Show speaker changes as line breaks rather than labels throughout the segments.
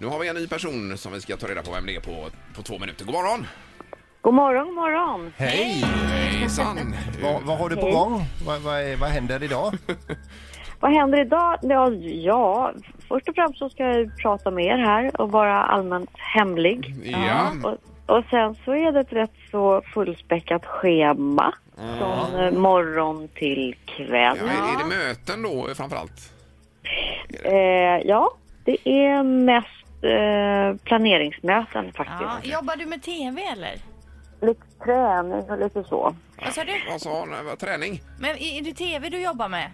Nu har vi en ny person som vi ska ta reda på vem det är på, på två minuter. God morgon!
God morgon, god morgon.
Hej!
Hejsan!
Vad, vad har du på
Hej.
gång? Vad, vad, är- vad händer idag?
Vad händer idag? Ja, ja, först och främst så ska jag ju prata med er här och vara allmänt hemlig.
Ja,
Och, och sen så är det ett rätt så fullspäckat schema från eh, morgon till kväll.
ja, är, är det möten då framförallt?
Eh, ja det är mest eh, planeringsmöten faktiskt.
Ja, jobbar du med tv eller?
Lite träning och lite så.
Vad sa du?
Vad sa han? Vad- Träning?
Men är är det tv du jobbar med?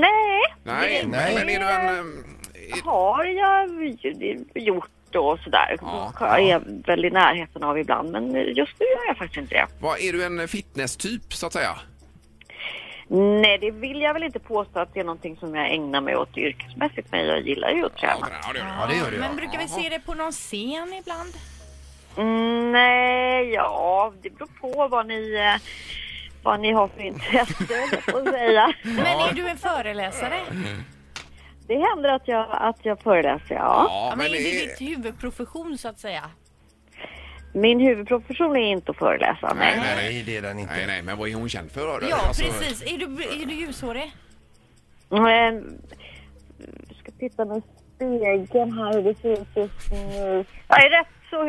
Nej,
Nej,
Nej.
men är du en... ehm, är-
har jag ju- gjort då sådär.
Ja.
Jag är väl i närheten av ibland men just nu gör jag faktiskt inte det.
Vad, är du en fitness-typ så att säga?
Nej, det vill jag väl inte påstå att det är någonting som jag ägnar mig åt yrkesmässigt, men jag gillar ju att träna.
Ja, det gör du.
Ja, det gör du.
Men brukar vi se det på någon scen ibland?
Mm, nej, ja, det beror på vad ni, eh, vad ni har för intresse, höll jag på att säga.
Men är du en föreläsare?
Det händer att jag, att jag föreläser, ja.
Ja,
Ja, men är
är-
det ditt huvudprofession så att säga?
Min huvudprofession är inte att föreläsa, nej.
Nej, nej.
Nej, det är den
Nej,
inte.
nej, men vad är hon känd för?
Ja,
Alltså,
precis. Är du, är du ljushårig?
Men, jag ska titta med spegeln här hur det ser ut just nu. Jag är rätt så,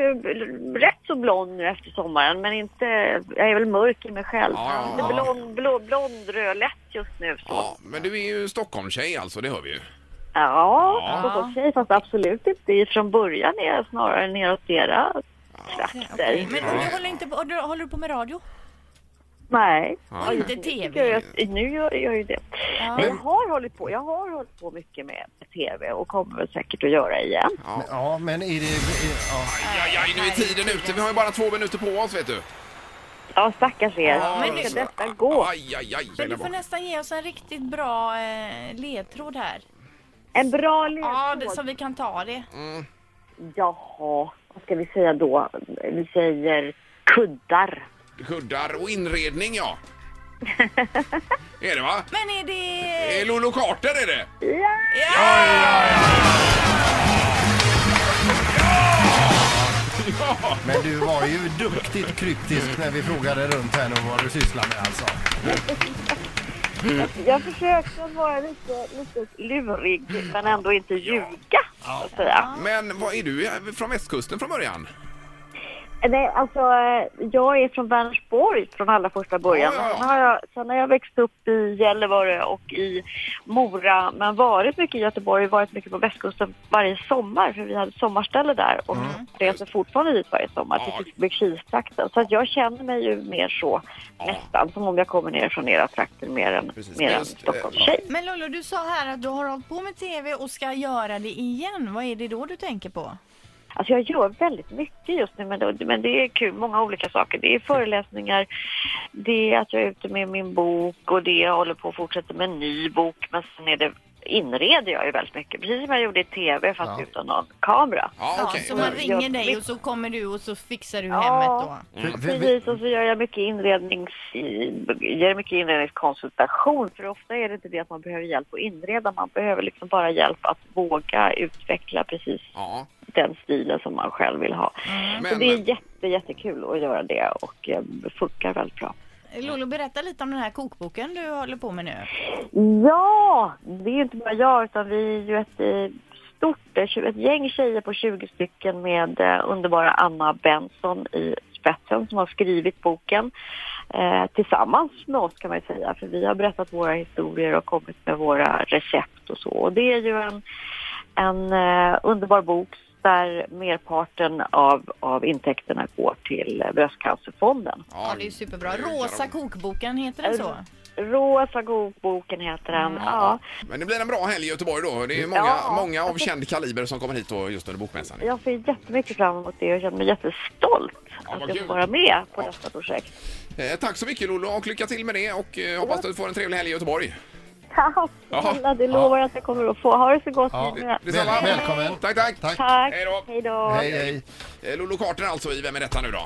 rätt så blond nu efter sommaren, men inte, jag är väl mörk i mig själv.
Ja,
Lite
ja.
blond, blå, blond rödlätt just nu. Så.
Ja, men du är ju Stockholmstjej alltså, det hör vi ju.
Ja,
Ja.
ja. okej, fast absolut inte. Från början är jag snarare neråt era trakter.
Men du håller, inte på, håller håller du på med radio?
Nej.
Och inte
Tycker jag
tv?
att- Nu gör jag ju det.
Ja.
Men jag har hållit på, jag har hållit på mycket med tv och kommer väl säkert att göra igen.
Men- Ja, men är det... är- Ja.
Aj, aj, nu är tiden ute. Vi har ju bara två minuter på oss, vet du.
Ja, stackars er.
Ja,
Hur
men
ska
nu-
detta gå?
Aj, aj, aj.
Men du
Hela
får nästan ge oss en riktigt bra eh, ledtråd här.
En bra
Ja,
ledtråd.
det, så vi kan ta det.
Jaha, vad ska vi säga då? Vi säger kuddar.
bak. Kuddar och inredning, ja. är det, va?
Men är det...
Är Lolo Carter är det?
Ja!
Ja!
Men du var ju duktigt kryptisk när vi frågade runt här nu vad du sysslar med alltså.
Jag försökte vara lite, lite lurig, men ändå inte ljuga, så att säga.
Men vad är du eh, från västkusten från början?
Nej, alltså, eh, jag är från Vänersborg från allra första början.
Ja, ja, ja.
Sen, har jag, sen har jag växt upp i Gällivare och i Mora, men varit mycket i Göteborg, varit mycket på västkusten varje sommar, för vi hade ett sommarställe där och reser fortfarande dit varje sommar
Mm. Ja.
till Fiskebäckskilstrakten. Så att jag känner mig ju mer så, nästan som om jag kommer ner från era trakter mer än,
Precis.
mer än
Just, eh,
Stockholmstjej.
Men Lollo, du sa här att du har hållit på med tv och ska göra det igen. Vad är det då du tänker på?
Alltså jag gör väldigt mycket just nu, men det, men det är kul. Många olika saker. Det är föreläsningar, det är att jag är ute med min bok och det jag håller på att fortsätta med en ny bok. Men sen är det, inreder jag ju väldigt mycket, precis som jag gjorde i tv fast
Ja.
utan någon kamera.
Ja, okej.
så man
Ja,
ringer
jag-
dig och så kommer du och så fixar du
Ja.
hemmet då.
För, för, vi-
Precis, och så gör jag mycket, inrednings, ger mycket inredningskonsultation för ofta är det inte det att man behöver hjälp att inreda, man behöver liksom bara hjälp att våga utveckla precis
Ja,
den stilen som man själv vill ha.
men,
Mm.
Så det är jätte, jättekul att göra det och eh, det funkar väldigt bra.
Lollo, berätta lite om den här kokboken du håller på med nu.
Ja, det är inte bara jag utan vi är ju ett eh, stort, eh, tju- ett gäng tjejer på 20 stycken med eh, underbara Anna Benson i spetsen som har skrivit boken eh, tillsammans med oss kan man ju säga för vi har berättat våra historier och kommit med våra recept och så och det är ju en, en eh, underbar bok där merparten av, av intäkterna går till eh, Bröstcancerfonden.
Ja, det är ju superbra. Rosa kokboken, heter den så?
Rosa Godboken heter den. Ja.
Men det blir en bra helg i Göteborg då. Det är många,
Ja.
många av känd kaliber som kommer hit då just under bokmässan.
Jag ser jättemycket fram emot det och känner mig jättestolt
vad
att jag
kul.
får vara med på
Ja.
detta projekt.
Eh, tack så mycket Lollo och lycka till med det och eh, hoppas du får en trevlig helg i Göteborg.
Tack snälla, det lovar jag att jag kommer att få. Ha det så gott
Ja.
ni med.
Detsamma.
Väl- välkommen.
Tack, tack.
Tack.
Tack,
Hej då.
hej då.
hej, hej.
Eh, Lollo Carter alltså i Vem är detta nu då?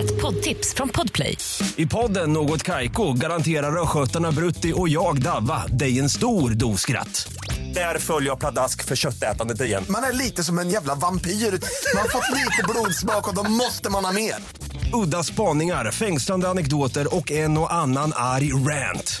Ett poddtips från Podplay.
I podden Något Kaiko garanterar östgötarna Brutti och jag, Davva, dig en stor dos skratt. Där följer jag pladask för köttätandet igen.
Man är lite som en jävla vampyr. Man har fått lite blodsmak och då måste man ha mer.
Udda spaningar, fängslande anekdoter och en och annan arg rant.